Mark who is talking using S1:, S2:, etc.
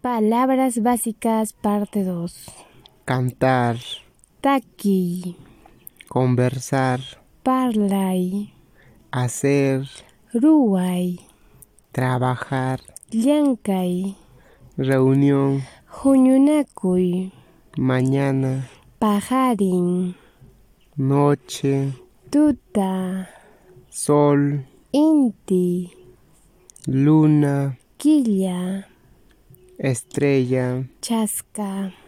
S1: Palabras básicas, parte 2.
S2: Cantar,
S1: Taqui,
S2: conversar,
S1: parlay,
S2: hacer,
S1: ruay,
S2: trabajar,
S1: llancay,
S2: reunión,
S1: juñunacuy,
S2: mañana,
S1: pajarin,
S2: noche,
S1: tuta,
S2: sol,
S1: inti,
S2: luna,
S1: quilla,
S2: estrella,
S1: chasca.